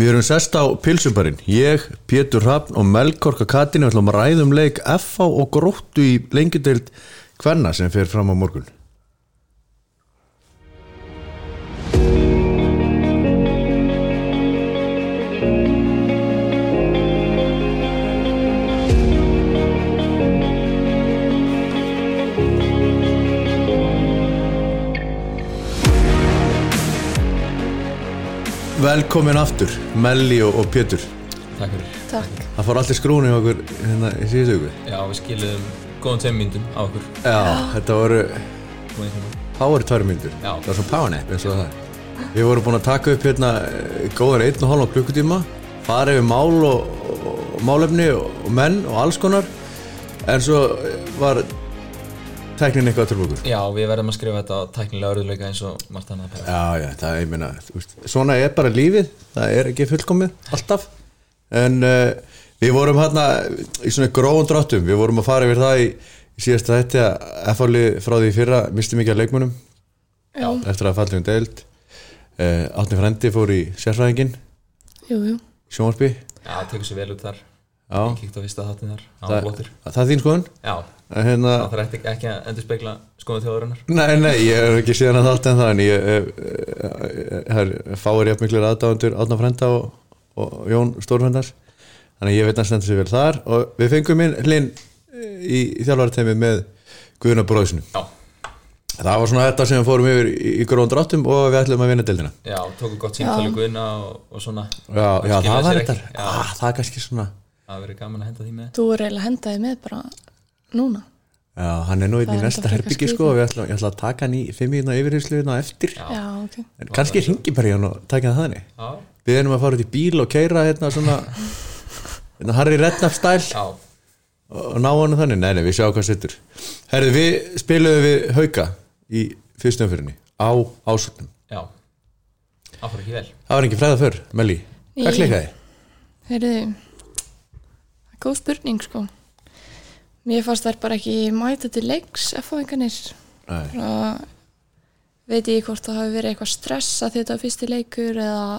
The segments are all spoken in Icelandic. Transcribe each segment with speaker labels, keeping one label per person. Speaker 1: Við erum sest á pilsubarinn, ég, Pétur Hrafn og Melkorka Katinu ætlum að ræðum leik FA og gróttu í lengjudeild hvenna sem fer fram á morgun. Velkomin aftur, Melli og, og Pétur.
Speaker 2: Takk fyrir.
Speaker 3: Takk.
Speaker 1: Það fór allir skrúni á okkur hérna í síðustu ykkur.
Speaker 2: Já, við skiljum góðum tveim myndum á okkur.
Speaker 1: Já, þetta voru,
Speaker 2: Og eins og nú.
Speaker 1: það voru tvær myndur.
Speaker 2: Já.
Speaker 1: Það var svona powernap eins og það. Við vorum búin að taka upp hérna eh, góðar einn og hálf klukkutíma, fara yfir mál og, og málefni og menn og alls konar, en svo eh, var teknin eitthvað til okkur.
Speaker 2: Já, við verðum að skrifa þetta á tæknilega örðuleika eins og margt annað pæra.
Speaker 1: Já, já, það er, ég meina, þú veist, svona er bara lífið, það er ekki fullkomið alltaf, en uh, við vorum hérna í svona gróðum dráttum, við vorum að fara yfir það í, í síðasta þetta að F-áli frá því í fyrra misti mikið af leikmunum
Speaker 3: Já.
Speaker 1: eftir að fallið um deild, uh, Átni Frendi fór í sérfræðingin,
Speaker 3: Jú, jú.
Speaker 1: sjónvarpi,
Speaker 2: Já, það tekur sér vel út þar. Ég
Speaker 1: já,
Speaker 2: kíkti á fyrsta þáttin þar. Já,
Speaker 1: það,
Speaker 2: flottur.
Speaker 1: það er þín skoðun,
Speaker 2: Já,
Speaker 1: að hérna,
Speaker 2: það þarf ekki, ekki að endur spekla skoðum þjóðurinnar.
Speaker 1: Nei, nei, ég hef ekki síðan að þátt en það en ég eh, eh, það er fáir jafn miklir aðdáðundur Átna Frenda og, og Jón Stórfrendars þannig að ég veit að stendur sér vel þar og við fengum inn hlinn í, í þjálfarteimi með Guðuna Bróðsinu
Speaker 2: Já,
Speaker 1: það var svona þetta sem við fórum yfir í, í gróðan dráttum og við ætlum að vinna deildina
Speaker 2: já, tóku gott símtali guðina og, og svona.
Speaker 1: Já, já
Speaker 2: skilaði
Speaker 1: það
Speaker 2: sér
Speaker 1: var
Speaker 2: ekki.
Speaker 1: þetta
Speaker 2: Já.
Speaker 1: ah, það er kannski svona
Speaker 2: Það verið gaman að henda því með.
Speaker 3: Þú er eiginlega hendaði með bara núna.
Speaker 1: Já, hann er nú einn í
Speaker 3: Það er
Speaker 1: næsta
Speaker 3: enda frekar
Speaker 1: herbyggi sko og við ætlum, ég ætlum að taka hann í fimmíðna yfirhersluðina hérna eftir
Speaker 3: Já, ok.
Speaker 1: en kannski hringi bara í hann og taka það þannig
Speaker 2: Já,
Speaker 1: Við erum að fara út í bíl og keira hérna svona hérna Harry Redknapp stæl
Speaker 2: já,
Speaker 1: og ná hann þannig, nei nei við sjáum hvað settur Herðu við spiluðum við Hauka í fyrstum fyrirni á ásöknum
Speaker 2: já. Það fór ekki vel.
Speaker 1: Það var engin fræða fyrr, Melli Hvað
Speaker 3: Nei.
Speaker 1: klikkaði?
Speaker 3: Heyrðu, það er góð spurning sko. Mér fannst þær bara ekki mæta til leiks F-fóðingarnir.
Speaker 1: Nei,
Speaker 3: Bara veit ég hvort það hafi verið eitthvað stress að þetta var fyrsti leikur eða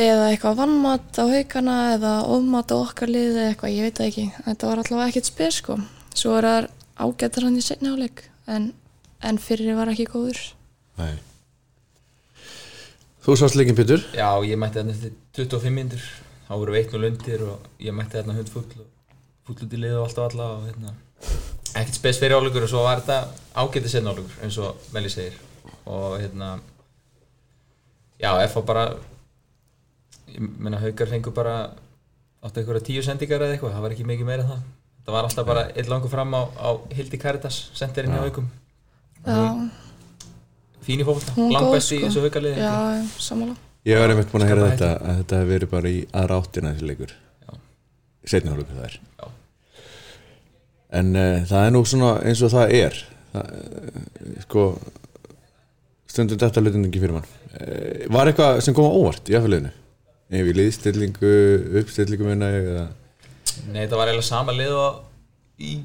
Speaker 3: eða eitthvað vannmat á haukana eða ofmat á okkar lið eða eitthvað, ég veit það ekki. Þetta var allavega ekkert spes sko. Svo er það ágættar hann í setni áleik en, en fyrir var ekki góður.
Speaker 1: nei Þú sást leikin Pétur
Speaker 2: Já, ég mætti þarna eftir 25 myndur. Þá voru við 1-0 undir og ég mætti þarna hund full og full út í lið og allt og alla og hérna. Ekkert spes fyrir álugur og svo var þetta ágæti sen álugur eins og Meli segir. Og hérna, já, F.A. bara, ég meina haukar fengur bara áttu einhverja tíu sendingar eða eitthvað, það var ekki mikið meira en það. Það var alltaf bara eitt langur fram á, á Hildi Karitas, sendirinn í haukum.
Speaker 3: Já,
Speaker 2: Fín í fólkta,
Speaker 3: Hún var góð,
Speaker 2: langbæst í
Speaker 3: sko.
Speaker 2: þessu haukaliði.
Speaker 3: já, samanlá.
Speaker 1: Ég var einmitt búin að heyra
Speaker 2: Skapaði
Speaker 1: þetta að þetta hefur verið bara í aðra áttina þessi leikur
Speaker 2: Já.
Speaker 1: Setna hálfum það er
Speaker 2: Já.
Speaker 1: En uh, það er nú svona eins og það er það, uh, sko stundum þetta hlutin ekki fyrir mann uh, Var eitthvað sem kom á óvart í aðfæliðinu? Ef í liðstillingu, uppstillingu minna ég eða
Speaker 2: Nei, þetta var eiginlega sama lið og í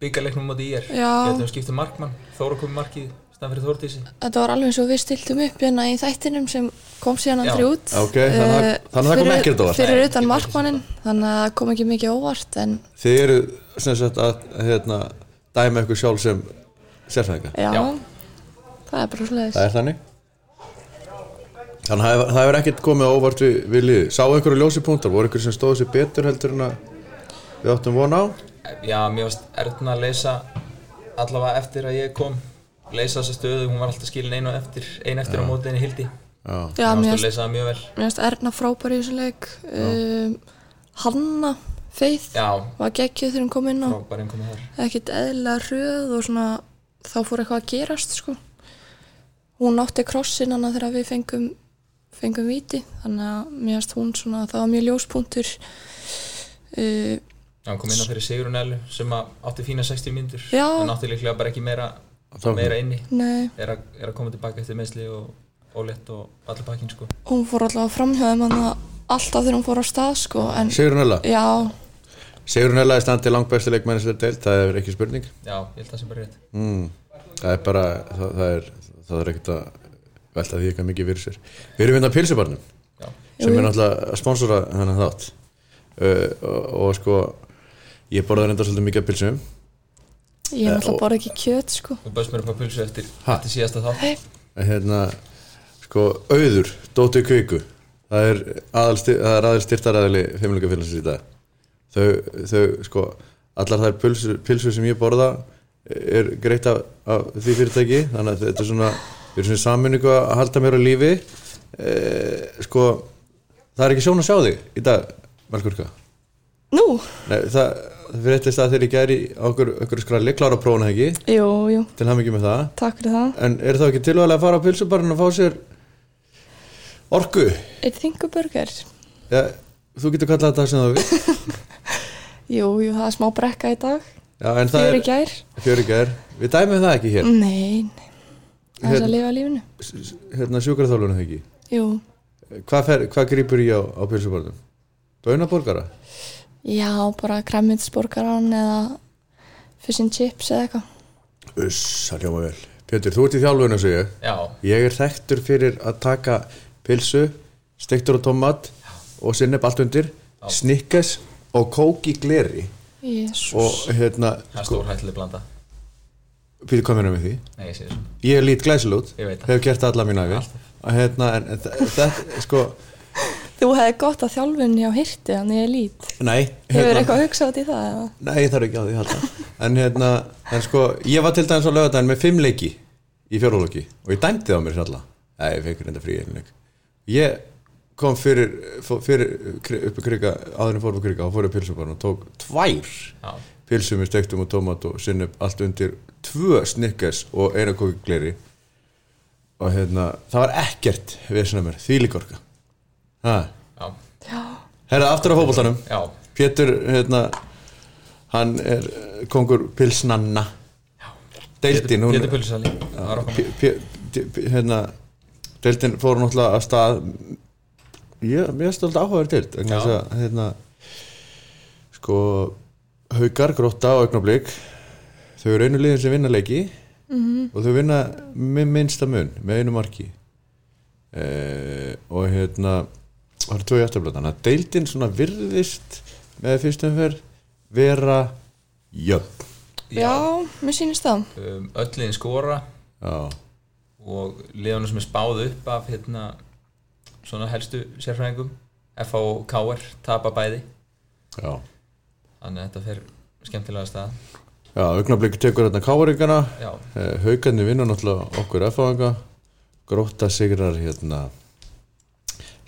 Speaker 2: byggjarleiknum móti í er
Speaker 3: Já.
Speaker 2: Þetta um skiptum markmann, Þóra kom í markið stann fyrir Þórdísi
Speaker 3: Þetta var alveg eins og við stiltum upp hérna í þættinum sem kom síðan
Speaker 2: Já.
Speaker 3: andri út.
Speaker 1: Ok, þannig að-
Speaker 3: Eh,
Speaker 1: þannig að það kom
Speaker 3: fyrir-
Speaker 1: ekkert á óvart.
Speaker 3: Fyrir utan markmannin, þannig að það kom ekki mikið á óvart, en
Speaker 1: Þið eru sem sagt að hérna, dæma ykkur sjálf sem sérfæðinga
Speaker 3: já,
Speaker 2: Já.
Speaker 3: það er bara slæðis.
Speaker 1: Það er þannig Þannig að það hefur ekkert komið á óvart við, við liðið. Sá einhverju ljósi punktar, voru einhverju sem stóðu sér betur heldur en að við áttum von á?
Speaker 2: Já, mér varst erðna að leysa allavega eftir að ég kom leysa þessa stöðu, hún var alltaf skilin einu eftir einu eftir á móti henni Hildi
Speaker 1: Já,
Speaker 2: Hún
Speaker 3: Já,
Speaker 2: varst
Speaker 3: mér
Speaker 2: að
Speaker 3: finnst-
Speaker 2: leysa það mjög vel
Speaker 3: mér finnst Erna frábær í þessu leik. Um, Hanna, Faith,
Speaker 2: Já,
Speaker 3: var geggjuð þegar hún kom inn á.
Speaker 2: frábær einhverjum þar
Speaker 3: ekkert eðlilega röð og svona þá fór eitthvað að gerast sko. hún átti krossin hana þegar við fengum fengum viti þannig að mér finnst hún svona það var mjög ljóspunktur uh,
Speaker 2: Já, hún kom inn á fyrir Sigrun Ellu sem að átti fína 60 myndur
Speaker 3: Já.
Speaker 2: en átti líklega bara ekki meira,
Speaker 1: Þá-
Speaker 2: meira inni
Speaker 3: nei,
Speaker 2: er, að- er að koma tilbaka eftir meðsli og ólétt og allir bakinn sko
Speaker 3: hún fór allavega framhjóðum hann alltaf þegar hún fór á stað sko, en
Speaker 1: Sigrun Ella
Speaker 3: já,
Speaker 1: Sigrun Ella er standið langbæsti leikmennislega deilt, það er ekki spurning
Speaker 2: Já, ég held að það sé bara rétt
Speaker 1: mm. Það er bara, það, það er það er ekkert að velta því eitthvað mikið fyrir sér Við erum hérna á pilsubarnum
Speaker 2: Já.
Speaker 1: sem
Speaker 3: Jú,
Speaker 1: er
Speaker 3: jú.
Speaker 1: náttúrulega að sponsora þennan þátt uh, og, og sko ég borða reynda svolítið mikið af pilsum
Speaker 3: Ég er
Speaker 1: Eh,
Speaker 3: náttúrulega
Speaker 1: og-
Speaker 3: bara ekki kjöt sko
Speaker 2: og bauðst mér upp á pulsu eftir,
Speaker 1: Ha?
Speaker 2: eftir síðasta þátt
Speaker 1: En hérna sko auður, dóttu kviku það er aðalstyr, það er aðal styrtaræðili fimmleikafélagsins í dag þau, þau sko allar þær pilsur, pilsur sem ég borða er greitt af, af því fyrirtæki þannig að þetta er svona við erum svona í sammenningu að halda mér á lífi e, sko það er ekki sjón að sjá þig í dag Melkurka
Speaker 3: Nú,
Speaker 1: Nei, það, það fyrirtist að þeir í gæri á okkur, okkur skralli, klára prófuna ekki
Speaker 3: jú, jú,
Speaker 1: til hann með það
Speaker 3: takk fyrir það
Speaker 1: En er það ekki tilvægilega að fara á pilsubarinn og fá sér orku?
Speaker 3: Eitt þingu burger
Speaker 1: Ja, þú getur kallað þetta sem þú vilt.
Speaker 3: Jú, jú, það er smá brekka í dag
Speaker 1: Já, en það
Speaker 3: Fyrir
Speaker 1: er
Speaker 3: í gær
Speaker 1: fjörugjær. Við dæmum það ekki hér.
Speaker 3: Nei, nei, það er
Speaker 1: Hérna.
Speaker 3: að lifa lífinu
Speaker 1: S- s- Hérna sjúkraþálunum ekki.
Speaker 3: Jú,
Speaker 1: Hvað, fer, hvað grýpur í á, á pilsubarnum? Bönaborgara?
Speaker 3: já, bara kremmitsborgaran eða fish and chips eða eitthvað
Speaker 1: Uss, það hljóma vel. Pétur, þú ert í þjálfunum, segi ég.
Speaker 2: já,
Speaker 1: Ég er þekktur fyrir að taka pilsu, steiktur og tomat og sinneb allt undir, snikkes og kók í gleri.
Speaker 3: Jésús,
Speaker 1: Og hérna,
Speaker 2: það er stórhættileg blanda
Speaker 1: fyrir kominu með því.
Speaker 2: nei, ég sé þessu,
Speaker 1: Ég lít glæsilút,
Speaker 2: Ég veit það.
Speaker 1: hef gert það alla mín æfi og hérna, en en þa- þetta, sko
Speaker 3: þú hefði gott að þjálfun hjá hirti, þannig ég lít
Speaker 1: nei,
Speaker 3: Hefur
Speaker 1: hérna,
Speaker 3: eitthvað hugsað út í það eða?
Speaker 1: nei, það er ekki á því halda en hérna, en sko, ég var til dæmis á lögadaginn með fimm leiki í fjórhólogi og ég dæmdi það á mér alltaf nei, ég fekk reynda frí einleik ég kom fyrir, fó- fyrir kri- upp í kriga, áður en fór upp í kriga og fór upp pilsubarn og tók tvær
Speaker 2: já,
Speaker 1: pilsum með steiktum og tómat og sinnum allt undir tvö snikkes og eina kóki gleri og hérna, það var ekkert vesina mér, því líka orka ha.
Speaker 2: já,
Speaker 1: herra, aftur á fótboltanum
Speaker 2: já
Speaker 1: Pétur, hérna hann er eh, kongur pilsnanna deildin, hún
Speaker 2: Pétur Pulsali, það var okkar
Speaker 1: P- P- P- hérna deildin fór náttúrulega að stað ég, mér er stóld áhugaður deild vegna
Speaker 2: Já.
Speaker 1: þess að, hérna sko haugar, grótta og augnablík þau eru einu liðin sem vinna leiki og þau vinna með minnsta mun með einu marki eh, og hérna það eru tvö jættabla þannig að deildin svona virðist með fyrstum fyrr vera jöfn
Speaker 3: Já, mér sýnist það
Speaker 2: um, ölliðin skora
Speaker 1: já,
Speaker 2: og liðanum sem er spáð upp af hérna, svona helstu sérfræðingum FH og KR tapa bæði
Speaker 1: já
Speaker 2: þannig að þetta fer skemmtilega af stað
Speaker 1: já, augnablík tekur hérna káaringana
Speaker 2: já,
Speaker 1: Haukarni Eh, vinna náttúrulega okkur F-fáðanga Grótta sigrar hérna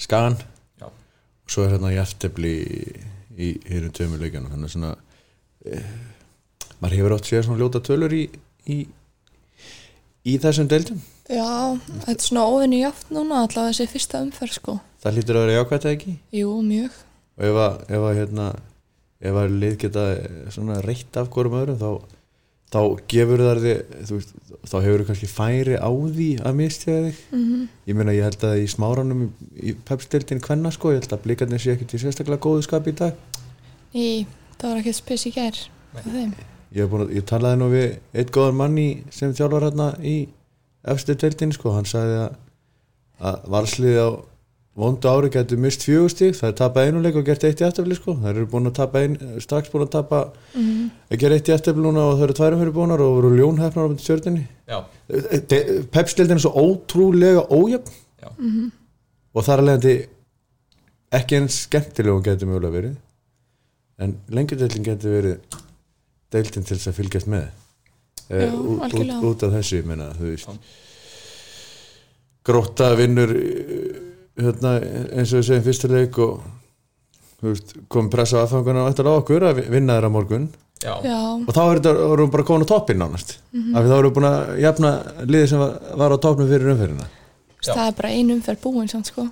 Speaker 1: Skagan
Speaker 2: Já.
Speaker 1: og svo er hérna hjartefli í, í hérna tveimur leikjanum þannig að svona eh, maður hefur átt séð svona ljóta tölur í, í í þessum deildum
Speaker 3: Já, þetta er svona óvinni játt núna allavega þessi fyrsta umferð sko
Speaker 1: það hlýtur að vera jákvæmt eða ekki
Speaker 3: Jú, mjög
Speaker 1: og ef að, ef að hérna ef að lið geta eh, svona reitt af hvorum öðrum þá, þá gefur þar þið þú veist, þá hefur þið kannski færi á því að mistja þig
Speaker 3: Mhm.
Speaker 1: -hmm. ég meina ég held að í smáranum í, í pepstildin hvenna sko, ég held að blikarnir sé ekkert í sérstaklega góðu skap í dag
Speaker 3: Í, það var ekki spes í gær
Speaker 2: Nei.
Speaker 3: hjá þeim.
Speaker 1: ég, hef búin að, ég talaði nú við eitt góðan manni sem þjálfar hérna í efstu deildin sko, hann sagði að, að valslið á vondu ári getur mist fjögustík, það er tapað einuleik og gert eitt í eftirfli sko, það eru búin að tapa ein, strax búin að tapa að gera eitt í eftirfli núna og það eru tværum fyrir búinar og voru ljónhefnar á myndi stjörninni
Speaker 2: já,
Speaker 1: pepstildin er svo ótrúlega ójöfn Mhm.
Speaker 2: já,
Speaker 1: og þar alveg þetta ekki eins skemmtileg hún getur mögulega verið en lengjadeildin getur verið deildin til þess að fylgjast með Eh,
Speaker 3: Já,
Speaker 1: út- út,
Speaker 3: algjörlega.
Speaker 1: út af þessu ég meina, þú veist
Speaker 2: Já.
Speaker 1: gróta vinnur eh, hérna, eins og við segjum fyrsta leik og þú veist, kom pressa á aðfanguna og eftir á okkur að vinna þeirra á morgun
Speaker 2: já, já.
Speaker 3: Já,
Speaker 1: og þá er þetta- vorum við bara komin á toppin nánast af því þá vorum við búin að jafna liði sem var, var á toppnum fyrir umferðina
Speaker 2: Já.
Speaker 3: það er bara ein umferð búin samt sko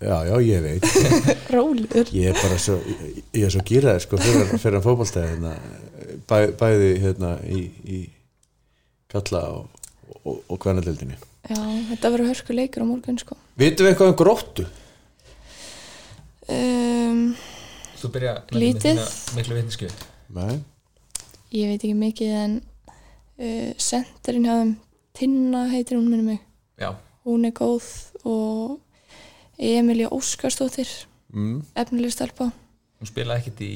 Speaker 1: já, já, ég veit
Speaker 3: Rólur
Speaker 1: Ég er bara svo, ég, ég er svo gýraði sko fyrir, fyrir að fótboltaði hérna, bæ, bæði hérna í, í kalla og, og, og kvennadeldinni.
Speaker 3: Já, þetta verður hörku leikur á morgun sko
Speaker 1: Vitum við eitthvað um gróttu?
Speaker 3: um,
Speaker 2: þú byrja
Speaker 3: Lítið.
Speaker 2: miklu vitnisku
Speaker 1: Nei.
Speaker 3: Ég veit ekki mikið en uh, senderinn hjá þeim Tinna heitir hún minni mig
Speaker 2: já,
Speaker 3: Hún er góð og Emilja Óskarsdóttir
Speaker 1: mm.
Speaker 3: efnileg stelpa
Speaker 2: Hún spilaði ekkert í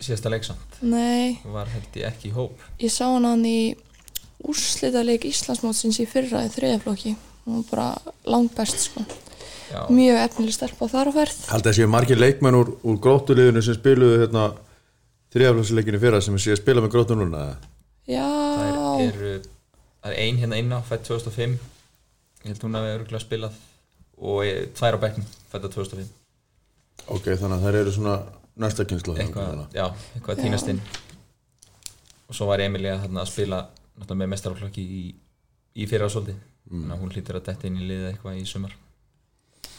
Speaker 2: síðasta leik samt.
Speaker 3: nei,
Speaker 2: Hún var held ég ekki í hóp.
Speaker 3: ég sá hann hann í úrslitaleik Íslandsmótsins í fyrra í þriðaflokki hún var bara langbest sko
Speaker 2: Já,
Speaker 3: mjög efnileg stelpa þar á ferð
Speaker 1: Haldið að séu margir leikmenn úr, úr gróttuliðinu sem spiluðu hérna þriðaflagsleikinu fyrra sem sé að spila með gróttu núna
Speaker 2: það
Speaker 3: já,
Speaker 2: eru það er ein hérna inná, fætt 2005. Ég held hún hafi örgulega spilað og eh, tvær á bekknum, fætt 2005.
Speaker 1: Ok, þannig að þær eru svona næsta kynslu
Speaker 2: eitthvað, já, eitthvað týnast inn og svo var Emilia þarna að spila náttúrulega með mestaraflokki í, í fyrra svolítið þannig að hún hlýtur að detta inn í liðið eitthvað í sumar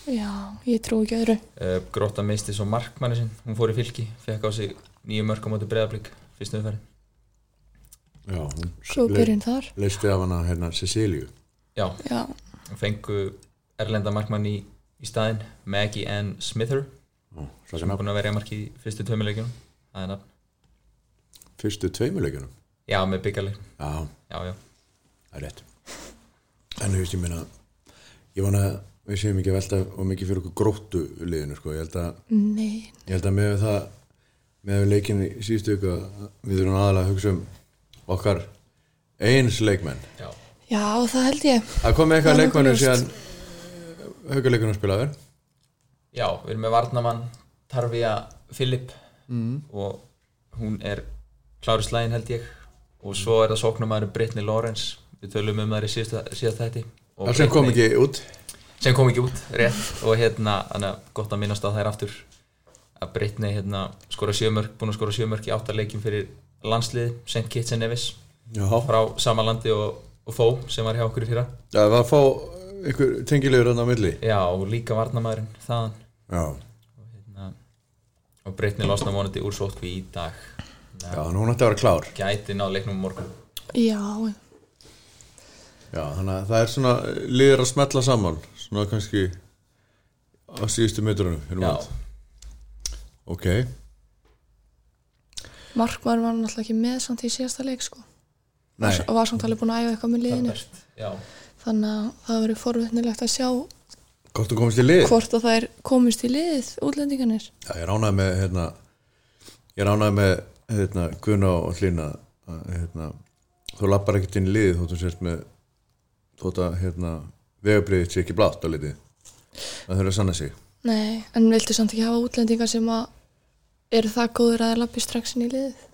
Speaker 3: já, ég trú ekki öðru
Speaker 2: uh, Gróta meisti svo markmanni sinn hún fór í fylki, fekk á sig nýju mörg á móti breðablík, fyrstu umferðin
Speaker 1: já hún
Speaker 3: svo
Speaker 1: le-
Speaker 3: byrjun þar
Speaker 1: Leisti af hana hérna Cecilju
Speaker 2: já,
Speaker 3: já,
Speaker 2: og fengu erlenda markmann í, í staðinn Maggie Ann Smither
Speaker 1: Ó,
Speaker 2: sem
Speaker 1: Svaka
Speaker 2: er
Speaker 1: nafn,
Speaker 2: búin að vera í marki í fyrstu tömuleikjunum það er nafn,
Speaker 1: fyrstu tveimuleikunum
Speaker 2: já, með byggarleik
Speaker 1: Já,
Speaker 2: já, já,
Speaker 1: það er rétt En þú veist, ég meina Ég vona að við séum ekki að velta og mikið fyrir okkur gróttu liðinu sko. ég, held að,
Speaker 3: nei,
Speaker 1: ég held að með við það með við leikin í síðustu ykkur við þurfum aðalega að hugsa um okkar eins leikmenn
Speaker 2: já.
Speaker 3: já, það held ég
Speaker 1: Það kom eitthvað
Speaker 3: Það er
Speaker 1: leikmennu
Speaker 3: nokkuð
Speaker 1: síðan haukuleikunum spilaður
Speaker 2: Já, við erum með varnamann Tarvia Filip
Speaker 1: Mm.
Speaker 2: og hún er klári slæðin held ég og svo er það sóknumæður Brittany Lawrence við tölum um það í síðast þætti og
Speaker 1: Það sem kom
Speaker 2: Brittany-
Speaker 1: ekki út
Speaker 2: sem kom ekki út, rétt og hérna, þannig að gott að minnast á þær aftur að Brittany hérna skora sjömörk, búin að skora sjömörk í áttarleikin fyrir landslið, St. Kitts and Nevis
Speaker 1: Já,
Speaker 2: frá sama landi og, og Fó sem var hjá okkur í fyrra
Speaker 1: það var að fá einhver tengilegur hann á milli
Speaker 2: Já, og líka varnamæðurinn þaðan
Speaker 1: Já,
Speaker 2: og, hérna, og Brittany losna vonandi úr sótkví í dag
Speaker 1: já hún ætti að vera klár
Speaker 2: gæti náð leiknum á morgun
Speaker 3: já,
Speaker 1: Já, þannig að það er svona liður að smetla saman svona kannski á síðustu metrunum fyrir
Speaker 2: já,
Speaker 1: mót. Ok,
Speaker 3: markmaður var náttúrulega ekki með samt í síðasta leik sko
Speaker 1: nei
Speaker 3: og var samt alveg búin að æfa eitthvað með liðinu
Speaker 2: Albert, já,
Speaker 3: þannig að það verið forvittnilegt að sjá
Speaker 1: Gott að komast í lið
Speaker 3: hvort að þær komist í liðið útlendinganir
Speaker 1: Já, ég ránaði með hérna, ég ránaði með hérna, Guðna og Hlína að, hérna, þú lappar ekkert inn í liðið þótt þú sért með þótt að hérna, vegabriðið sé ekki blátt á litið það þurfa að sanna sig
Speaker 3: nei, en viltu samt ekki hafa útlendingar sem að eru það góður að þeir lappi strax inn í liðið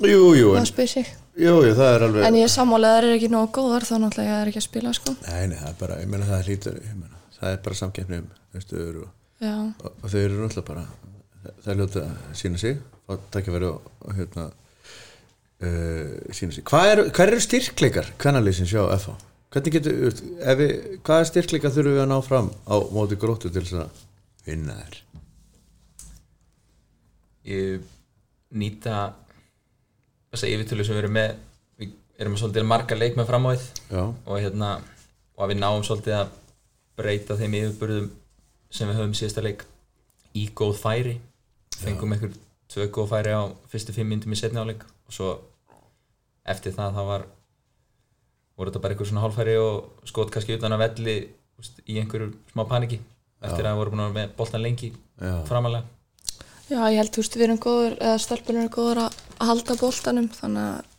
Speaker 1: Jú, jú, en,
Speaker 3: það spyr sig,
Speaker 1: jú, jú það er alveg
Speaker 3: en ég er sammála að þær eru ekki nógu góðar þá náttúrulega er ekki að spila sko
Speaker 1: Nei, nei, það er bara, ég meina það er hlítur ég meina, það er bara samkeppni um stöður og,
Speaker 3: já,
Speaker 1: og, og þau eru náttúrulega bara það er ljóta að sína sig og takja verið og, og hérna uh, sína sig. Hvað eru, hvað eru styrkleikar kvennalið sem sjá FH? Hvernig getur, þú veist, ef við, hvaða styrkleika þurfum við að ná fram á móti gróttu til þess að vinna þær?
Speaker 2: ég nýta þess að yfirtölu sem við erum með við erum með svolítið marga leik með framáið
Speaker 1: Já,
Speaker 2: og hérna og að við náum svolítið að breyta þeim yfirburðum sem við höfum síðasta leik í góð færi fengum einhver tvö góð færi á fyrstu fimm myndum í setni áleik og svo eftir það það var voru þetta bara einhver svona hálfæri og skot kannski utan að velli þú veist, í einhverju smá paniki eftir að við vorum búin að vera með boltan lengi
Speaker 1: já,
Speaker 2: framalega
Speaker 3: já, ég held þú veist við erum góður eða stelpunum eru góður að að halda boltanum þannig að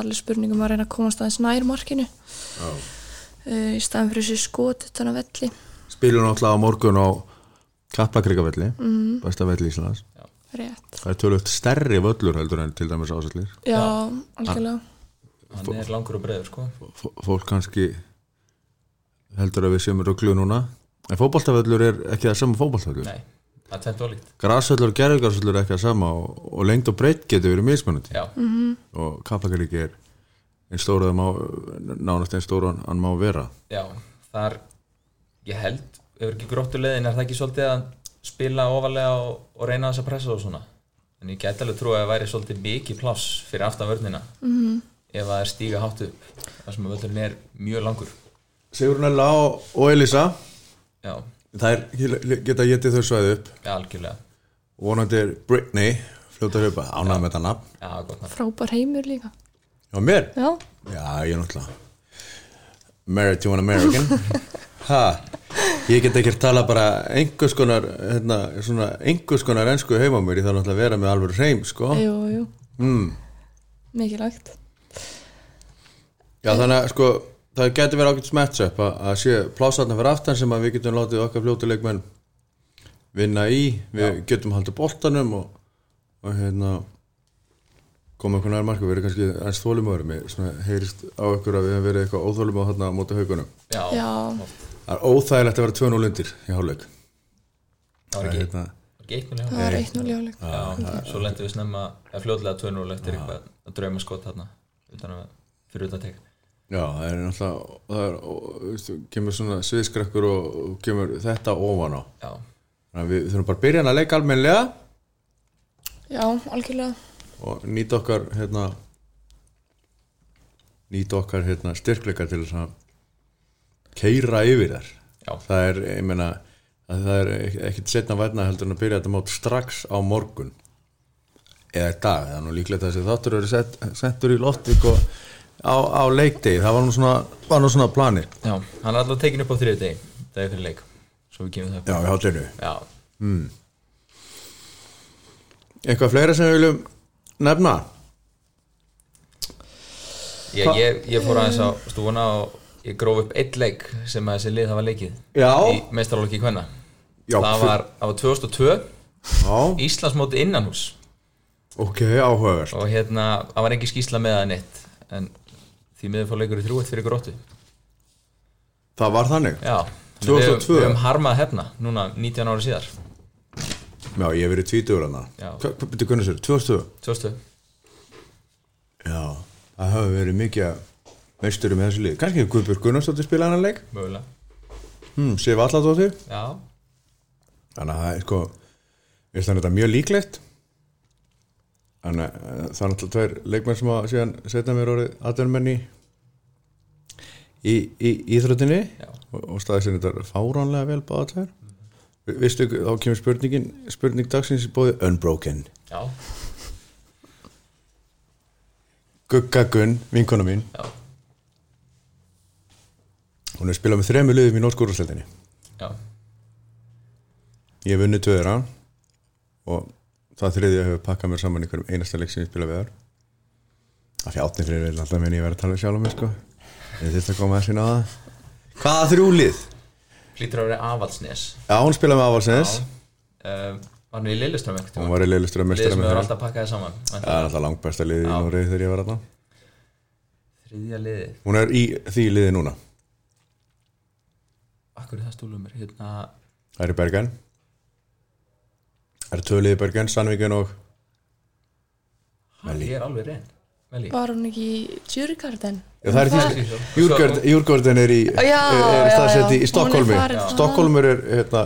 Speaker 3: allir spurningum að reyna að komast aðeins nær markinu
Speaker 1: já.
Speaker 3: uh, í staðan fyrir þessi skot utan að velli
Speaker 1: Spilum náttúrulega á morgun á Kaplakrikavelli, mm. besta velli í Íslands.
Speaker 3: rétt,
Speaker 1: Það er tölvöld stærri völlur heldur en til dæmis ásallir.
Speaker 3: já, algjörlega
Speaker 2: hann er langur og breiður sko
Speaker 1: F- fólk kannski heldur að við séum rugglu núna en fótboltavöllur er ekki það sama fótboltavöllur
Speaker 2: nei, það er tæmt ólíkt
Speaker 1: grasvöllur og gerðugarsvöllur er ekki það sama og, og lengd og breytt getur verið mismunandi
Speaker 2: já,
Speaker 1: og kaplakarík er einn stóra það má, nánast einn stóra hann má vera
Speaker 2: já, þar ég held, ef ekki gróttu leðin er það ekki svolítið að spila ofalega og, og reyna þess að pressa og svona en ég gæti alveg trúið að það væri svolítið mikið pláss fyrir aftan vörnina -hmm.
Speaker 3: Mhm.
Speaker 2: ef það er stíga hátt upp þar sem að völlurinn er mjög langur
Speaker 1: Sigurinn Ella og, og Elisa
Speaker 2: já,
Speaker 1: þær geta getið þau svæði upp
Speaker 2: ja, algjörlega
Speaker 1: vonandi er Britney fljóta hljópa ánægð með þetta nafn
Speaker 2: já, gott nafn.
Speaker 3: frábær heimur líka
Speaker 1: og mér
Speaker 3: já,
Speaker 1: Já, ég er náttúrulega Married to an American Ha, ég get ekki að tala bara einhvers konar, hérna, svona einhvers konar ensku heima á mér, ég þarf náttúrulega að vera með alveg hreim, sko.
Speaker 3: jú, jú,
Speaker 1: Mm.
Speaker 3: mikilvægt
Speaker 1: Já, þannig að sko, það getur verið ágætt smetsup að, að sé plásarna fyrir aftan sem að við getum látið okkar fljótuleikmenn vinna í, við getum haldið boltanum og, og hérna koma okkur nær marka, við erum kannski aðeins þólumöður með, svona heyrist á okkur að við hefum verið eitthvað óþólumöð hérna á móti haugunum.
Speaker 2: Já,
Speaker 3: Já.
Speaker 2: oft.
Speaker 1: Það er óþægilegt að vera 2-0 undir í hálfleik.
Speaker 2: Það
Speaker 1: Það
Speaker 2: var
Speaker 1: er
Speaker 2: ekki,
Speaker 1: hérna,
Speaker 2: var ekki eitt
Speaker 3: það
Speaker 2: milljón
Speaker 3: var eitt núljáleik
Speaker 2: Já, svo lendi við snemma, eða fljóðlega 2-0 eftir eitthvað að drauma skot þarna utan að, fyrir utan teg
Speaker 1: Já, það er náttúrulega, það er, ó, veistu, kemur svona sviðskrekkur og, og kemur þetta ofan á.
Speaker 2: Já,
Speaker 1: Þannig að við þurfum bara að byrja hann að leika almennilega
Speaker 3: já, algjörlega
Speaker 1: og nýta okkar, hérna, nýta okkar, hérna, styrkleika til þess að keira yfir þær.
Speaker 2: já,
Speaker 1: Það er, ég meina, að það er ek- ekkit setna værna heldur en að byrja þetta mót strax á morgun eða í dag, það er nú líklegt að þessi þáttur eru sett, settur í loftík og á, á leikdegi, það var nú svona, var nú svona planið.
Speaker 2: já, hann er alltaf tekin upp á þriðu deg dagi fyrir leik, svo við kemum það upp
Speaker 1: Já, í hátinu.
Speaker 2: Já,
Speaker 1: Eitthvað fleira sem við viljum nefna?
Speaker 2: ég, ég, ég fór aðeins á stúfuna og ég gróf upp eitt leik sem að þessi lið hafa leikið
Speaker 1: Já.
Speaker 2: í mestarálokki hvenna
Speaker 1: Já,
Speaker 2: það
Speaker 1: fyr-
Speaker 2: var á 2002
Speaker 1: Já,
Speaker 2: Íslands móti innanhús
Speaker 1: ok, áhugavert.
Speaker 2: og hérna, það var engin skýsla með það neitt en því miður fór leikur í þrjúett fyrir gróttu
Speaker 1: Það var þannig.
Speaker 2: Já, þannig
Speaker 1: 2002.
Speaker 2: við höfum harmað hefna núna 19 ári síðar
Speaker 1: Já, ég hef verið tvítugur hana.
Speaker 2: Já.
Speaker 1: Hvað betur kunnur sér? 2000?
Speaker 2: 2002
Speaker 1: Já, það hafa verið mikið meistur með þessu lið. Kanski hefur Guðbjörg Gunnarsdóttir spilað hann leik.
Speaker 2: Mögulega
Speaker 1: Hmm, Sif Alladóttir.
Speaker 2: Já,
Speaker 1: Þannig að það er sko, ég veist þannig að þetta er mjög líklegt. Þannig að eh, það er náttúrulega tveir leikmenn sem að síðan setna mér orðið aðdörnmenni í, í íþróttinni
Speaker 2: Já.
Speaker 1: og, og staðið sinni þetta er fáránlega vel báða tveir. Vi- Veistu, þá kemur spurningin, spurning dagsins í bóði Unbroken.
Speaker 2: já,
Speaker 1: Gugga Gunn, vinkona mín,
Speaker 2: já,
Speaker 1: hún er spilað með þremu liðum í nótskúrúsletinni.
Speaker 2: já,
Speaker 1: Ég hef unnið tvöðra og það þriðja hefur pakkað mér saman í hverjum einasta leik sem ég spila við þar. Það fjáttin fyrir vil alltaf minn ég verið að tala sjálf um mig sko. Ég þurfti að koma þessi náða. Hvaða þrjúlið?
Speaker 2: hlýtur að vera afaldsnes
Speaker 1: Já, hún spilaði með Avalsnes.
Speaker 2: Já, uh, var hann í Lilleström ekkert
Speaker 1: Hún var í leilustur að
Speaker 2: Lið
Speaker 1: mestara
Speaker 2: sem hefur
Speaker 1: með það.
Speaker 2: alltaf pakkaði saman
Speaker 1: Það er alltaf langbæsta liðið í
Speaker 2: Já.
Speaker 1: Núrið þegar ég var þarna.
Speaker 2: Þriðja liði,
Speaker 1: Hún er í því liði núna.
Speaker 2: akkur er það stúlum er hérna
Speaker 1: Það er í Bergen. Það er tvö liði í Bergen, Sandvíken og...
Speaker 2: Hæ, ég er alveg reyn Meli
Speaker 3: var hún ekki í Djurgarden
Speaker 1: Já, það er
Speaker 3: Hún
Speaker 1: því Júrgården er í,
Speaker 3: Já,
Speaker 1: er, er
Speaker 3: já, já.
Speaker 1: staðsett í
Speaker 3: Hún er
Speaker 1: Stokkólmi.
Speaker 3: farin þaðan.
Speaker 1: Stokkólmur er hérna,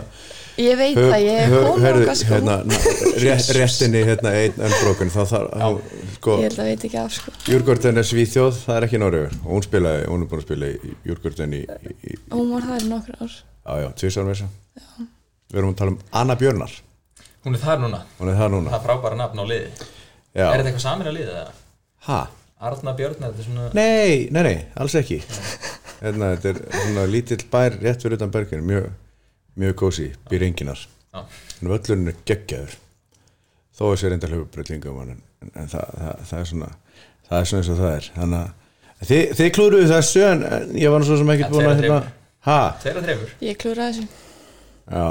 Speaker 3: ég veit
Speaker 1: Hör-
Speaker 3: það, ég
Speaker 1: hör-
Speaker 3: kom
Speaker 1: heyrðu,
Speaker 3: á sko,
Speaker 1: hérna, na- ré- réttinni hérna einn öllbrókun þá þarf sko,
Speaker 3: ég held að veit ekki af sko
Speaker 1: Júrgården er Svíþjóð, það er ekki Norröður og hún spilaði, hún er búin að spila í Júrgården í, í, í,
Speaker 3: hún var það í nokkur ár
Speaker 1: á já, tvisar með þessa við erum að tala um Anna Björnar
Speaker 2: Hún er þar núna,
Speaker 1: hún er það
Speaker 2: það
Speaker 1: núna
Speaker 2: er frábæra nafn á liði Er þetta
Speaker 1: já.
Speaker 2: eitthvað samir að liði það?
Speaker 1: ha?
Speaker 2: Arna Björn, er þetta svona
Speaker 1: Nei, nei, nei, alls ekki hérna, þetta er svona lítill bær rétt fyrir utan bergin, mjög mjög kósi, býr enginar
Speaker 2: Já,
Speaker 1: en völlurinn er geggjaður þó að sér enda hljóðbreytlingum en, en, en það, það, það er svona það er svona eins og það er þannig að þið, þið klúruðu þessu en, en ég var nú svo sem ekki
Speaker 2: En
Speaker 1: búin að
Speaker 2: þeirra
Speaker 1: hérna ha,
Speaker 2: þeirra þreifur
Speaker 3: ég klúraði þessu,
Speaker 1: já,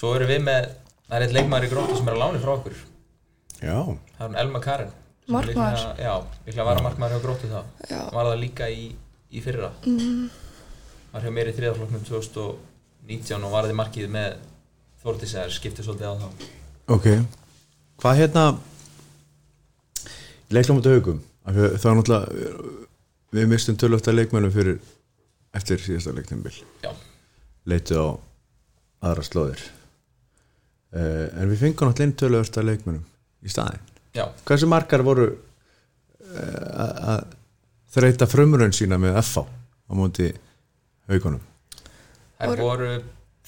Speaker 2: Svo erum við með, það er eitt leikmaður í gróttu sem er að láni frá okkur
Speaker 1: já
Speaker 2: Það er hún Elma Karen sem er
Speaker 3: Markmaður.
Speaker 2: líklega- Já, líklega var að markmaður hjá gróttu þá
Speaker 3: Já. Mhm.
Speaker 2: Var það líka í, í fyrra mm. Var hjá mér í þriðaflokknum 2019 og varði markið með Þórdís að skipti svolítið á þá
Speaker 1: ok, hvað hérna leiklum út af haugum það er náttúrulega við- við mistum tölvöfta leikmennum fyrir eftir síðasta leiknumbil
Speaker 2: Já,
Speaker 1: leitu á aðra slóðir uh, en við fengum náttúrulega inn tölvöfta leikmennum í staðinn
Speaker 2: já,
Speaker 1: hversu margar voru eh, að að þreyta frumrun sína með FH á móti haugunum
Speaker 2: það
Speaker 3: Voru-
Speaker 2: voru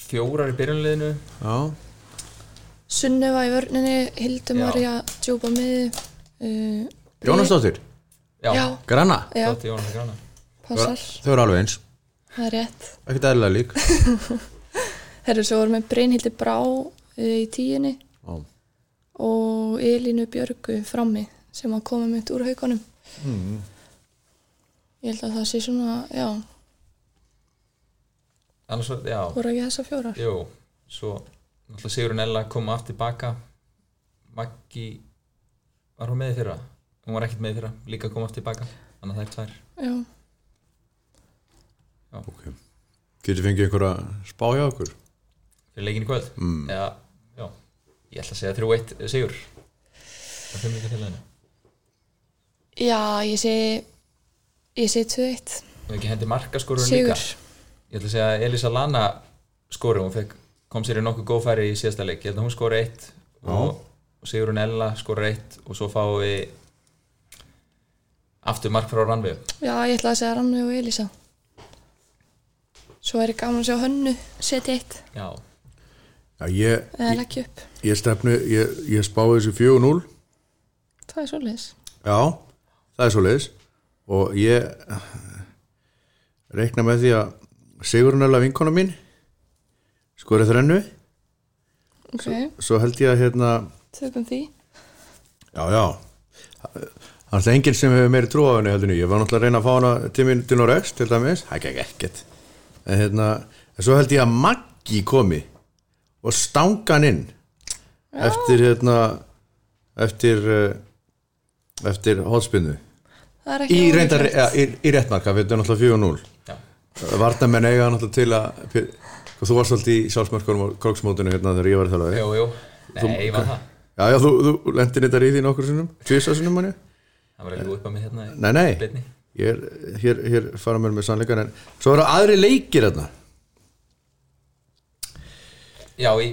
Speaker 2: fjórar í byrjunliðinu
Speaker 1: já,
Speaker 3: Sunnuva í vörninni Hildur
Speaker 2: Já.
Speaker 3: Marja, Djópa miði uh,
Speaker 1: Jónasdóttir,
Speaker 3: já,
Speaker 1: Granna
Speaker 3: já,
Speaker 2: Þótti Jónas Grána
Speaker 3: passar
Speaker 1: þau eru alveg eins
Speaker 3: það er rétt.
Speaker 1: ekkert eðlilega lík
Speaker 3: Herru, svo vorum við Brynhildi Brá eh, í tíunni
Speaker 1: Já.
Speaker 3: og Elínu Björgu frammi sem að koma mynd úr haugunum.
Speaker 1: Hmm.
Speaker 3: Ég held að það sé svona, já,
Speaker 2: annars var, já,
Speaker 3: voru ekki þessar fjórar.
Speaker 2: jú svo, náttúrulega Sigurinn Ella kom aftur baka Maggi var hún með í fyrra? hún var ekkert með í fyrra, líka kom aftur baka þannig að það er tvær
Speaker 3: Já,
Speaker 1: okay. getur fengið einhverja spá hjá okkur
Speaker 2: fyrir leikin í kvöld
Speaker 1: Mm.
Speaker 2: eða, já, ég ætla að segja 3-1 Sigur það fyrir mikið til henni
Speaker 3: já ég sé, ég sé 2-1,
Speaker 2: og ekki hendi markaskorun líka
Speaker 3: sigur.
Speaker 2: ég ætla að segja að Elisa Lana skori hún fekk, kom sér í nokkuð góð færi í síðasta leik, ég held að hún skori eitt og, og Sigurinn Ella skori eitt og svo fáum við aftur mark frá Ranvið
Speaker 3: Já, ég ætla að segja Rannu og Elisa. Svo er ég gaman að sjá hönnu, setja eitt
Speaker 2: já,
Speaker 1: Já, ég,
Speaker 3: eða leggja upp.
Speaker 1: ég stefnu, ég, ég spáði þessu 4-0
Speaker 3: Það er svolítið.
Speaker 1: Já, það er svo leiðis og ég eh, reikna með því að Sigurnella vinkona mín skori þrennu
Speaker 3: Ok,
Speaker 1: svo held ég að hérna
Speaker 3: tökum því.
Speaker 1: já, já það er það enginn sem hefur meiri trú á henni heldur en ég. ég var náttúrulega að reyna að fá hana til mín til Norex til dæmis, það gekk ekkert en hérna, en svo held ég að Maggi komi og stanga hann inn eftir hérna eftir eh, eftir hótspinnu
Speaker 3: Það er ekki
Speaker 1: í reyndar,
Speaker 3: ólíklegt.
Speaker 1: ja, í, í réttmarka við erum náttúrulega 4-0
Speaker 2: já,
Speaker 1: Varnamenn eiga náttúrulega til að Pétur, þú varst alltaf í sjálfsmörkunum og kroksmótinu hérna þegar ég var þjálfari
Speaker 2: jú, jú nei, ég var það,
Speaker 1: Já, já, þú, þú lendir þetta í því nokkur sinnum tvisar sinnum manni
Speaker 2: það var ekki upp að mig hérna í-
Speaker 1: Nei, nei,
Speaker 2: Beinni.
Speaker 1: ég er, hér, hér fara mér með sannleikan en svo eru aðri leikir hérna
Speaker 2: já, í,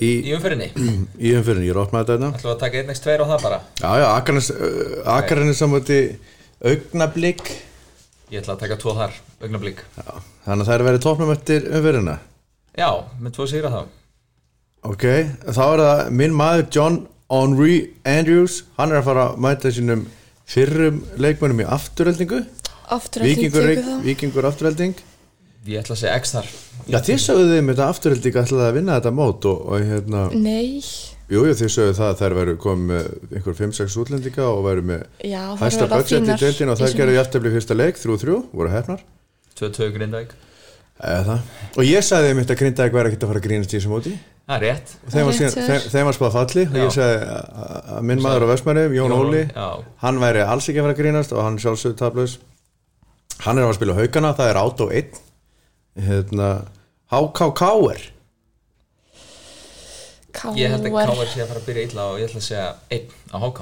Speaker 1: í,
Speaker 2: í umferðinni
Speaker 1: í umfyrinni, ég er opnað þetta hérna
Speaker 2: ætlum við að taka 1x2 á það bara
Speaker 1: Já, já, Akarnes, uh, Akarnes samvætti augnablík
Speaker 2: ég ætla að taka 2 þar, augnablík
Speaker 1: já, Þannig að það er verið topnum eftir umfyrinna
Speaker 2: já, með 2 sigra þá
Speaker 1: Ok, þá er það minn maður John Henry Andrews hann er að fara að mæta sínum fyrrum leikmönnum í afturöldingu
Speaker 3: Afturölding
Speaker 1: Víkingur,
Speaker 3: tökum
Speaker 1: reik,
Speaker 3: það.
Speaker 1: Víkingur afturölding
Speaker 2: ég ætla að segja x þar
Speaker 1: Já, þið sögðu þeim þetta afturölding ætlaði að vinna þetta mót og, og hérna,
Speaker 3: Nei,
Speaker 1: jú, jú, þið sögðu það að þær væru komið með einhver 5-6 útlendinga og væru með
Speaker 3: já, það
Speaker 1: hæsta
Speaker 3: er verið
Speaker 1: budget í
Speaker 3: fínar.
Speaker 1: deildin og
Speaker 3: í
Speaker 1: þær
Speaker 3: sumar.
Speaker 1: gerðu jæftefli fyrsta leik, 3-3, voru hefnar
Speaker 2: 2-2 grindavík,
Speaker 1: Eða það. Og ég sagði þeim þetta að grinda ekki væri ekkert að fara að grínast í þessu móti
Speaker 2: það er rétt
Speaker 1: Og þeim var,
Speaker 3: Rétt
Speaker 1: síðan,
Speaker 3: hjá þér.
Speaker 1: þeim, þeim var spáð falli og ég
Speaker 2: Já.
Speaker 1: sagði að- að að minn maður á Vestmannum, Jón
Speaker 2: Jón
Speaker 1: Óli
Speaker 2: Óli, já.
Speaker 1: hann væri alls ekki að fara að grínast og hann sjálfsögðu tablaus hann er að fara að spila á haugana, það er át og einn hérna HKKR
Speaker 2: Ég held að
Speaker 3: Káar.
Speaker 2: K.R. sé að fara að byrja illa og ég ætla að segja einn á HK.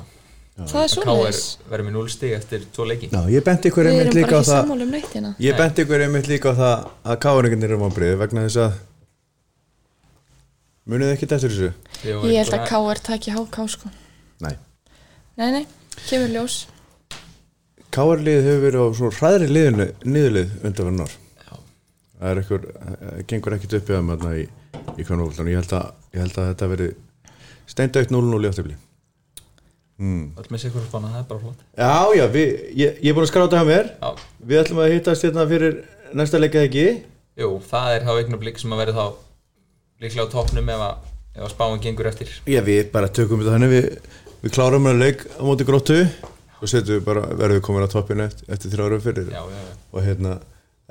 Speaker 3: Það er
Speaker 2: K.R.
Speaker 3: svoleiðis.
Speaker 2: verður með 0 stig eftir tvo leiki.
Speaker 1: Já, ég benti ykkur
Speaker 3: Við
Speaker 1: einmitt
Speaker 3: erum
Speaker 1: líka
Speaker 3: bara
Speaker 1: á það
Speaker 3: ekki sammála um neitt hérna.
Speaker 1: ég benti ykkur einmitt líka á það að KR-ingarnir eru vonbrið vegna þess að munið þið ekkert eftir þessu?
Speaker 2: Ég,
Speaker 3: Ég held að K.R. taki HK sko.
Speaker 1: Nei
Speaker 3: Nei, nei, kemur ljós.
Speaker 1: KR-liðið hefur verið á svona hræðri liðinu niðurlið undanverðin ár
Speaker 2: Já.
Speaker 1: það er ekkur, gengur ekkert upp í það með í, í kvönuvöldunum ég, held að- ég held að þetta veri steindaukt 0-0 í áttefli
Speaker 2: Öll með sikur spána, það er bara flott.
Speaker 1: Já, já, við, ég, ég er búin að skráta hjá mér
Speaker 2: Já,
Speaker 1: Við ætlum að hittast hérna fyrir næsta leika ekki
Speaker 2: jú, það er þá eignablík sem að verður þá líklega á toppnum ef að, ef að spáin gengur eftir.
Speaker 1: Já, við bara tökum þetta þannig Við, við klárum að leik á móti gróttu og setjum við bara, verðum við komin á toppinu eftir, eftir þrjá ára fyrir
Speaker 2: Já, já, já.
Speaker 1: og hérna,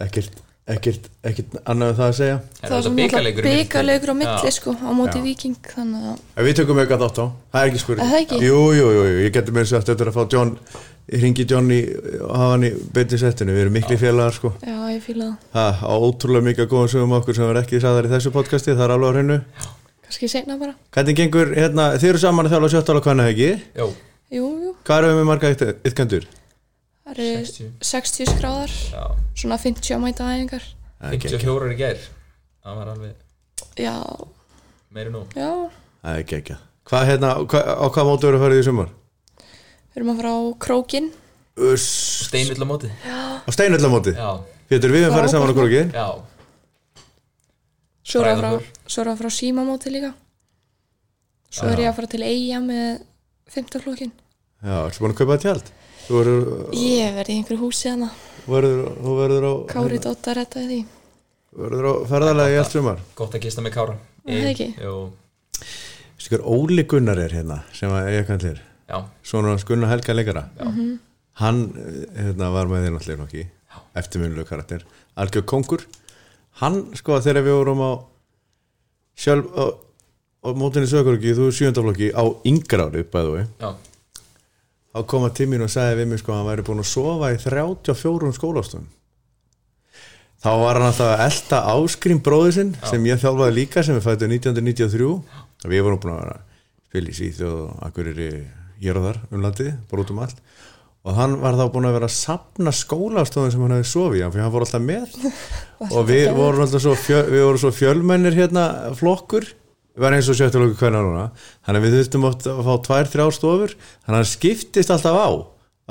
Speaker 1: ekkert, ekkert, ekkert annað en það að segja
Speaker 3: Það var svona alltaf byggarleikur á milli sko, á móti
Speaker 1: Já.
Speaker 3: viking, þannig að
Speaker 1: En við tökum auka þátt á, það er ekki spurning
Speaker 3: Er það ekki?
Speaker 1: Jú, jú, jú, jú. ég getur mér sagt þetta er að fá John ég ringi John í, og hafa hann í beinti settinu, við erum mikli félagar sko
Speaker 3: já, ég fíla það.
Speaker 1: Það á ótrúlega mikið góðan sögum okkur sem er ekki sagðar í þessu podcasti, það er alveg á hreinu
Speaker 3: Kannski segna bara.
Speaker 1: Hvernig gengur, hérna, þið eru saman að þjálfa sjöttála hvernig ekki?
Speaker 2: Jú,
Speaker 3: Jú, jú,
Speaker 1: Hvað erum við með marga ytt- ytkendur?
Speaker 3: það eru
Speaker 2: 60.
Speaker 3: 60 skráðar,
Speaker 2: já.
Speaker 3: svona 50 á mæta æfingar.
Speaker 1: Það
Speaker 2: 54 í gær. Það var alveg
Speaker 3: Já,
Speaker 2: meiri nú.
Speaker 3: já,
Speaker 1: er ekki ekki Hvað, hérna, hva, á hvað mótu eru að fara í sumar?
Speaker 3: við erum að fara á krókin.
Speaker 1: Uss,
Speaker 2: Steinull á móti.
Speaker 1: á steinullamóti
Speaker 2: Já,
Speaker 1: Pétur, við erum farið saman á krókin
Speaker 2: já.
Speaker 3: Svo erum við að
Speaker 2: Bræðraborg.
Speaker 3: fara- svo erum við að fara á símamóti líka. Svo er ég að fara til eiga með 15 klokkin.
Speaker 1: Já, ertu búin að kaupa það tjald? Þú eru,
Speaker 3: Ég verði í einhverju húsi hana.
Speaker 1: og verður, og verður á
Speaker 3: Kári Dóttar rettaði því
Speaker 1: verður á ferðalagi í allt sumar
Speaker 2: Gott að gista með Kára
Speaker 3: Er það ekki?
Speaker 2: Jú,
Speaker 1: Sigur Óli Gunnar er hérna sem að eiga kallir
Speaker 2: já,
Speaker 1: Svona Gunnar Helga leikara Hann eh, hérna, var með þér náttúrulega nokki eftirminnuleg karakter Algjör Kongur Hann sko þegar við vorum á sjálf á, á mótinni sögurki þú er sjöndaflokki á yngra ári bæðu við
Speaker 2: já,
Speaker 1: þá kom að tímin og sagði við mig sko að hann væri búin að sofa í 34 skólastofum þá var hann alltaf að elta áskrim bróði sinn sem ég þjálfaði líka sem er fættu 1993 og við vorum búin að vera að spila í Svíþjóð og Akureyri hér og þar um landið, bara út um allt og hann var þá búin að vera að sapna skólastofum sem hann hefði sofið í hann, fyrir hann fór alltaf með og við vorum alltaf svo, fjö, við vorum svo fjölmennir hérna flokkur við varum eins og sjöttilóku hverna núna þannig að við þurftum oft að fá tvær, þrjár stofur þannig að hann skiptist alltaf á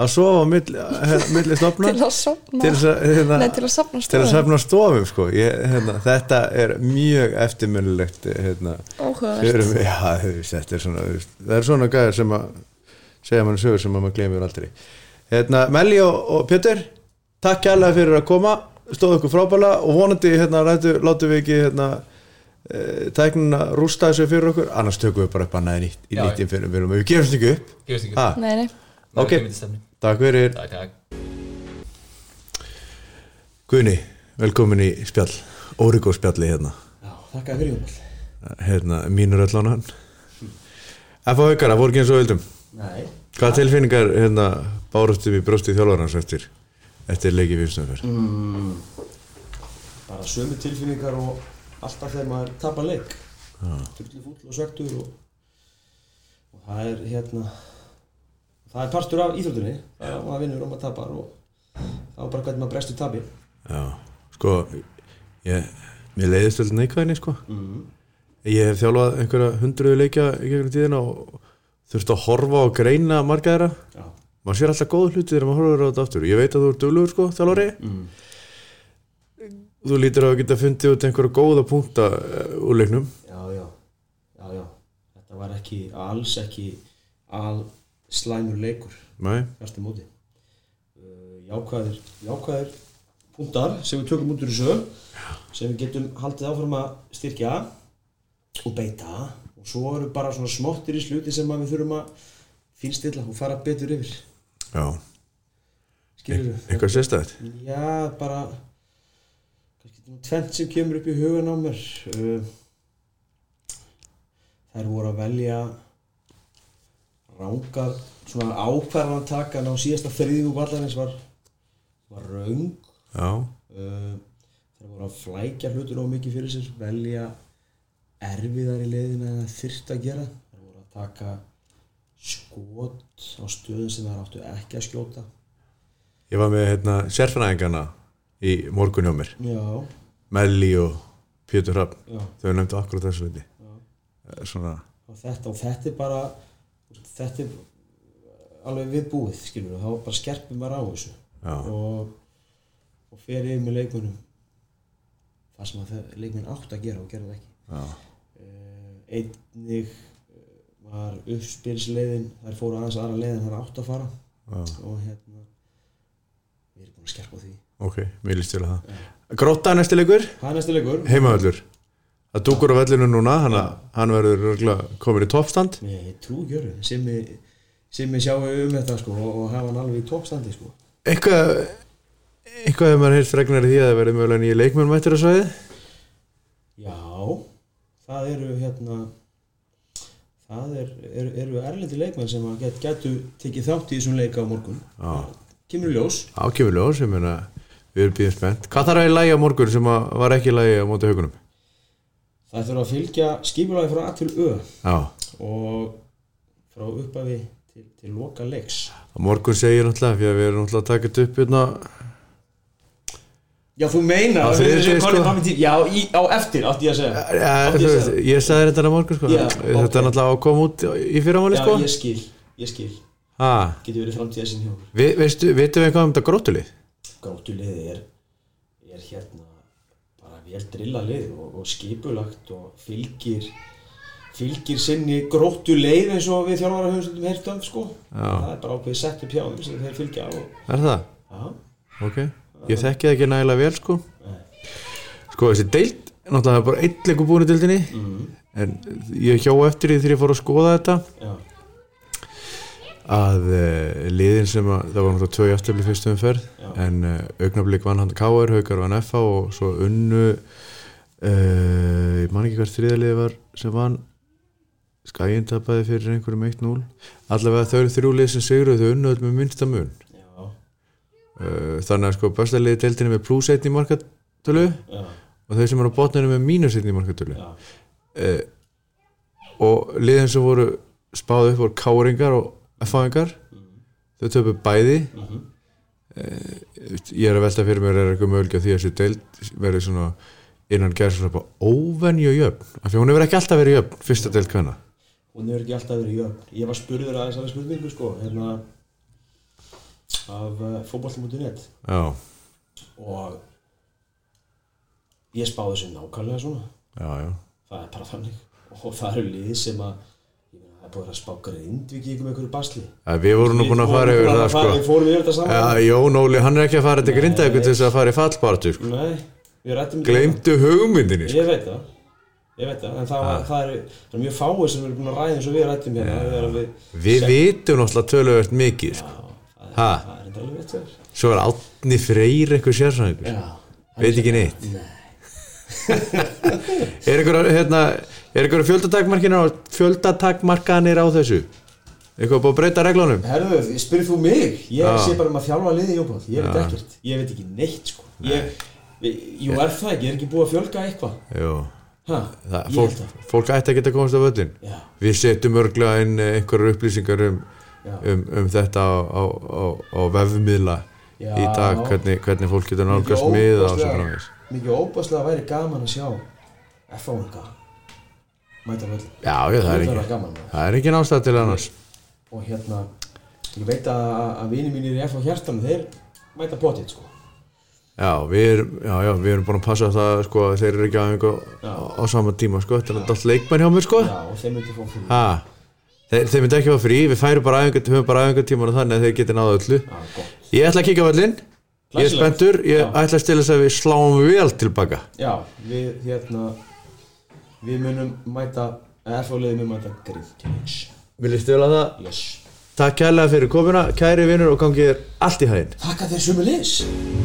Speaker 1: að sofa á milli, eh, milli stofna
Speaker 3: Til að safna
Speaker 1: til þess að, hérna,
Speaker 3: Nei, til að
Speaker 1: til
Speaker 3: safna
Speaker 1: að
Speaker 3: stofum.
Speaker 1: safna stofum sko. ég, hérna, þetta er mjög eftirminnilegt hérna,
Speaker 3: Áhugavert.
Speaker 1: fyrir mig já, þú veist, þetta er svona, þú veist, það er svona gæðar sem að segja mann sögur sem að maður glemir aldrei hérna, Melli og, og Pétur takk kærlega fyrir að koma stóðu ykkur frábæla og vonandi hérna, rættu, látum við ekki hérna, eh, tæknin að rústa þessu fyrir okkur annars tökum við bara upp annað í nýtt, í
Speaker 2: Já,
Speaker 1: nýtt fyrir, fyrir, við gefumst ekki upp
Speaker 2: gefist ekki
Speaker 1: ha,
Speaker 3: Nei, nei
Speaker 2: Ná er
Speaker 1: Ah, ok.
Speaker 2: ekki myndið stefni
Speaker 1: takk fyrir
Speaker 2: Takk, takk
Speaker 1: Guðni, velkomin í spjall Órigó spjalli hérna
Speaker 4: Já, þakka þér fyrir Jónal
Speaker 1: hérna, mínur allan hann F.A. Haukara, voru ekki eins og vildum
Speaker 4: Nei
Speaker 1: Hvaða tilfinningar hérna, bárustum í brjósti þjálfarans eftir, eftir leiki viðstöðumferð?
Speaker 4: mm. Bara sömu tilfinningar og alltaf þegar maður tapar leik Tullu fúll og svektur og, og það er hérna Það er partur af íþróttunni Það er að maður vinnur og maður tapar og þá bara hvernig maður brestur tapi
Speaker 1: Já, sko, ég, mér leiðist öll neikvæðinni, sko.
Speaker 4: mm.
Speaker 1: Ég hef þjálfað einhverja hundruðu leikja í gegnum tíðina og þurfti að horfa og greina marga þeirra.
Speaker 4: Já
Speaker 1: Maður sér alltaf góð hluti þegar maður horfur á þetta aftur. Ég veit að þú ert duglugur, sko, þjálfari.
Speaker 4: mm.
Speaker 1: Þú lítur að geta fundið út einhverja góða punkta eh, úr leiknum.
Speaker 4: Já, já, já, já Þetta var ekki, alls ekki al slæmur leikur
Speaker 1: Nei,
Speaker 4: fjartu móti uh, jákvæðir, jákvæðir punktar sem við tökum út úr þessu sem við getum haldið áfram að styrkja og beita og svo eru bara svona smottir í sluti sem að við þurfum að fínstilla og fara betur yfir
Speaker 1: já,
Speaker 4: skilur við?
Speaker 1: eitthvað sérstætt.
Speaker 4: Já, bara kannski nú tvent sem kemur upp í hugan á mér uh, þær voru að velja rángar svona ákvarðantakan á síðasta þriðjum vallarins var, var raung
Speaker 1: Já,
Speaker 4: uh, þær voru að flækja hlutur á mikið fyrir sér velja erfiðari leiðina en það þyrft að gera þær voru að taka skot á stöðum sem þær áttu ekki að skjóta
Speaker 1: Ég var með hérna, sérfræðingana í morgun hjá mér,
Speaker 4: já,
Speaker 1: Melli og Pétur Hrafn,
Speaker 4: já
Speaker 1: þau nefndu akkurat þessu viti. Svona,
Speaker 4: og þetta, og þetta er bara þetta er alveg viðbúið skilur við, þá bara skerpum maður á þessu
Speaker 1: já,
Speaker 4: og, og fer yfir með leikmunum það sem að það, leikmun átt að gera og gera það ekki
Speaker 1: já,
Speaker 4: uh, einnig eh, var uppspilsleiðin þær fóru aðeins aðra leiðin þær átt að fara
Speaker 1: já,
Speaker 4: og hérna við erum búin að skerpa á því
Speaker 1: ok, mér líst til að það. Grótta næsti leikur,
Speaker 4: það er næsta leikur
Speaker 1: heimavöllur. Það dúkur á vellinu núna, hann, hann verður örugglega kominn í toppstand.
Speaker 4: Nei, ég trú ekki öru sem ég, sem ég sjáu um þetta sko, og, og hafa hann alveg í toppstandi sko.
Speaker 1: Eitthvað, eitthvað hefur maður heyrst regnar í því að það verður mögulega nýja leikmenn mættir að svæði.
Speaker 4: Já, það eru hérna það er, er, eru erlendi leikmenn sem að get, getu tekið þátt í þessum leika á morgun
Speaker 1: Já,
Speaker 4: Kemur í ljós
Speaker 1: ákjöfur ljós, ég meina, við erum býðum spennt. Hvað þarf að lægja morgun sem að var ekki lægja á móti haugunum?
Speaker 4: Það þurfa að fylgja skipulagi frá A til Ö
Speaker 1: Já.
Speaker 4: og frá uppafi til, til loka leiks
Speaker 1: Á morgun segir náttúrulega fyrir að við erum náttúrulega að taka þetta upp hérna
Speaker 4: Já, þú meina
Speaker 1: Á þriðjudegi, sko.
Speaker 4: Já, í, á eftir átti ég að segja
Speaker 1: Eh, þú veist, ég sagði þetta á morgun sko
Speaker 4: Já,
Speaker 1: þetta er
Speaker 4: ok.
Speaker 1: náttúrulega að koma út í fyrramáli
Speaker 4: Já,
Speaker 1: sko
Speaker 4: ég skil, ég skil
Speaker 1: ha,
Speaker 4: Getur verið framtíða sinni hjá okkur
Speaker 1: vi, veistu, veitum við eitthvað um þetta grótulið?
Speaker 4: grótuliði er, er hérna bara vel drilla lið og, og skipulagt og fylgir fylgir sinni gróttu leið eins og við þjálfara höfum stundum heyrt af sko.
Speaker 1: Já.
Speaker 4: það er bara ákveðið sett upp hjá þeim sem þeir fylgja á og,
Speaker 1: er það?
Speaker 4: já,
Speaker 1: ok, ég þekki það ekki nægilega vel sko sko þessi deild náttúrulega er bara einn leikur búin í deildinni
Speaker 4: Mm-hmm.
Speaker 1: en ég hjá eftir því þegar ég fór að skoða þetta
Speaker 4: já,
Speaker 1: að uh, liðin sem að, það var náttúrulega tvö jæftabli fyrstu umferð
Speaker 4: Já.
Speaker 1: en uh, augnablík vann hann K.R. Haukar vann F.A. og svo unnu uh, ég man ekki hvert þriðalið var sem vann skæin tapaði fyrir einhverjum 1-0 allavega þau eru þrjú lið sem sigruðu þau unnuð með minnsta mun
Speaker 4: já,
Speaker 1: uh, þannig að sko besta liði deildinni með plus 1 í markatölu
Speaker 4: já,
Speaker 1: og þau sem eru á botninu með mínus 1 í markatölu
Speaker 4: já,
Speaker 1: uh, og liðin sem voru spáðu upp voru K.R.ingar og F.A.ingar þau töpu bæði
Speaker 4: mhm,
Speaker 1: ég er að velta fyrir mér er eitthvað mögulega því að þessi deild verið svona innan gerðsflöpa óvenju jöfn af því að hún hefur ekki alltaf verið jöfn fyrsta deild hvenna
Speaker 4: hún hefur ekki alltaf verið jöfn ég var spurður aðeins aðeins spurningu sko hérna af uh, fótballtum.net
Speaker 1: já,
Speaker 4: og ég spáði þessu nákvæmlega svona
Speaker 1: já, já,
Speaker 4: það er bara þannig og það eru lið sem að ég meina, það er búin að spá grindvík í einhverju basli
Speaker 1: Að við vorum nú búin að fara yfir það sko
Speaker 4: við fórum yfir þetta
Speaker 1: já,
Speaker 4: saman
Speaker 1: Jón Óli, hann er ekki að fara til grindaði til þess að fara í fallpartu sko.
Speaker 4: nei, við rættum
Speaker 1: gleymdu hugmyndinni sko.
Speaker 4: ég veit það ég veit það, en það, var, það, eru, það eru mjög fáið sem eru búin að ræða eins og við rættum hérna þegar við,
Speaker 1: við vitum náttúrulega töluvert mikið sko.
Speaker 4: það,
Speaker 1: Ha?
Speaker 4: það er enda alveg rétt hjá þér.
Speaker 1: svo er átni freyr eitthvað sérfræðingur
Speaker 4: já,
Speaker 1: veit ekki neitt er einhver hérna, er einhver fjöldatakmarkanir á fjöldatakmarkanir á þessu eitthvað búið að breyta reglunum
Speaker 4: Herðu, spyrir þú mig? Ég
Speaker 1: Já.
Speaker 4: sé bara um að þjálfa liði í Jópað, ég veit
Speaker 1: Já.
Speaker 4: ekkert, ég veit ekki neitt sko ég, Jú, er það ekki, er ekki búið að fjölga eitthvað?
Speaker 1: Jú,
Speaker 4: Ha,
Speaker 1: það,
Speaker 4: ég
Speaker 1: fólk,
Speaker 4: held það
Speaker 1: fólk ætti að geta komast af öllin
Speaker 4: Já,
Speaker 1: við setjum örglega inn eh, einhverjar upplýsingar um,
Speaker 4: já,
Speaker 1: um, um þetta á, á, á, á vefmiðla
Speaker 4: já
Speaker 1: í dag hvernig, hvernig fólk getur
Speaker 4: Mikið
Speaker 1: nálgast miða og svo
Speaker 4: óbúslega-
Speaker 1: framvegis
Speaker 4: Mikið óbáslega væri gaman að sjá F-fáinga Mæta völl
Speaker 1: já, já, það er
Speaker 4: væri
Speaker 1: ekki
Speaker 4: gaman maður.
Speaker 1: það er ekki nástað til annars
Speaker 4: Og hérna, ég veit að, að vini mínir í F-fá hjartan Þeir mæta potið sko
Speaker 1: já, við erum, já, já, við erum búin að passa það sko, að þeir eru ekki á einhver
Speaker 4: Já.
Speaker 1: á, á sama tíma sko, þetta er alltaf leikmenn hjá mér sko
Speaker 4: Já, og þeir myndi fá fyrir
Speaker 1: Ha, þeir, þeir myndi ekki fá frí, við færum bara æfingar, höfum bara æfingar tíman og þannig að þeir geti náðu öllu.
Speaker 4: Já, gott
Speaker 1: Ég ætla að kíka völlinn, ég er
Speaker 4: Glæsilegt.
Speaker 1: spenntur, ég
Speaker 4: Já.
Speaker 1: ætla að stila þess að við sláum vel tilbaka.
Speaker 4: Já, við hérna Við munum mæta F-fá liði mun mæta Grindvíks
Speaker 1: Vil ég stila það?
Speaker 4: Yes
Speaker 1: Takk kærlega fyrir komuna, kæri vinnur og gangið þér allt í hæðin.
Speaker 4: Takk að þeir sumu liðs